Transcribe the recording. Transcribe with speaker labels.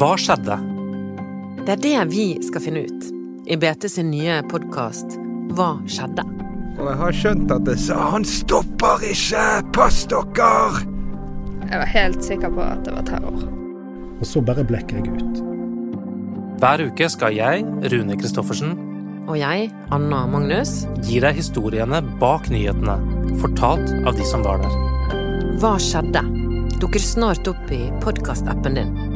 Speaker 1: Hva skjedde?
Speaker 2: Det er det vi skal finne ut i BT sin nye podkast Hva skjedde?
Speaker 3: Og jeg har skjønt at det sa Han stopper ikke! Pass dere!
Speaker 4: Jeg var helt sikker på at det var terror.
Speaker 5: Og så bare blekker jeg ut.
Speaker 1: Hver uke skal jeg, Rune Christoffersen,
Speaker 2: Og jeg, Anna Magnus,
Speaker 1: gi deg historiene bak nyhetene, fortalt av de som var der.
Speaker 2: Hva skjedde? dukker snart opp i podkastappen din.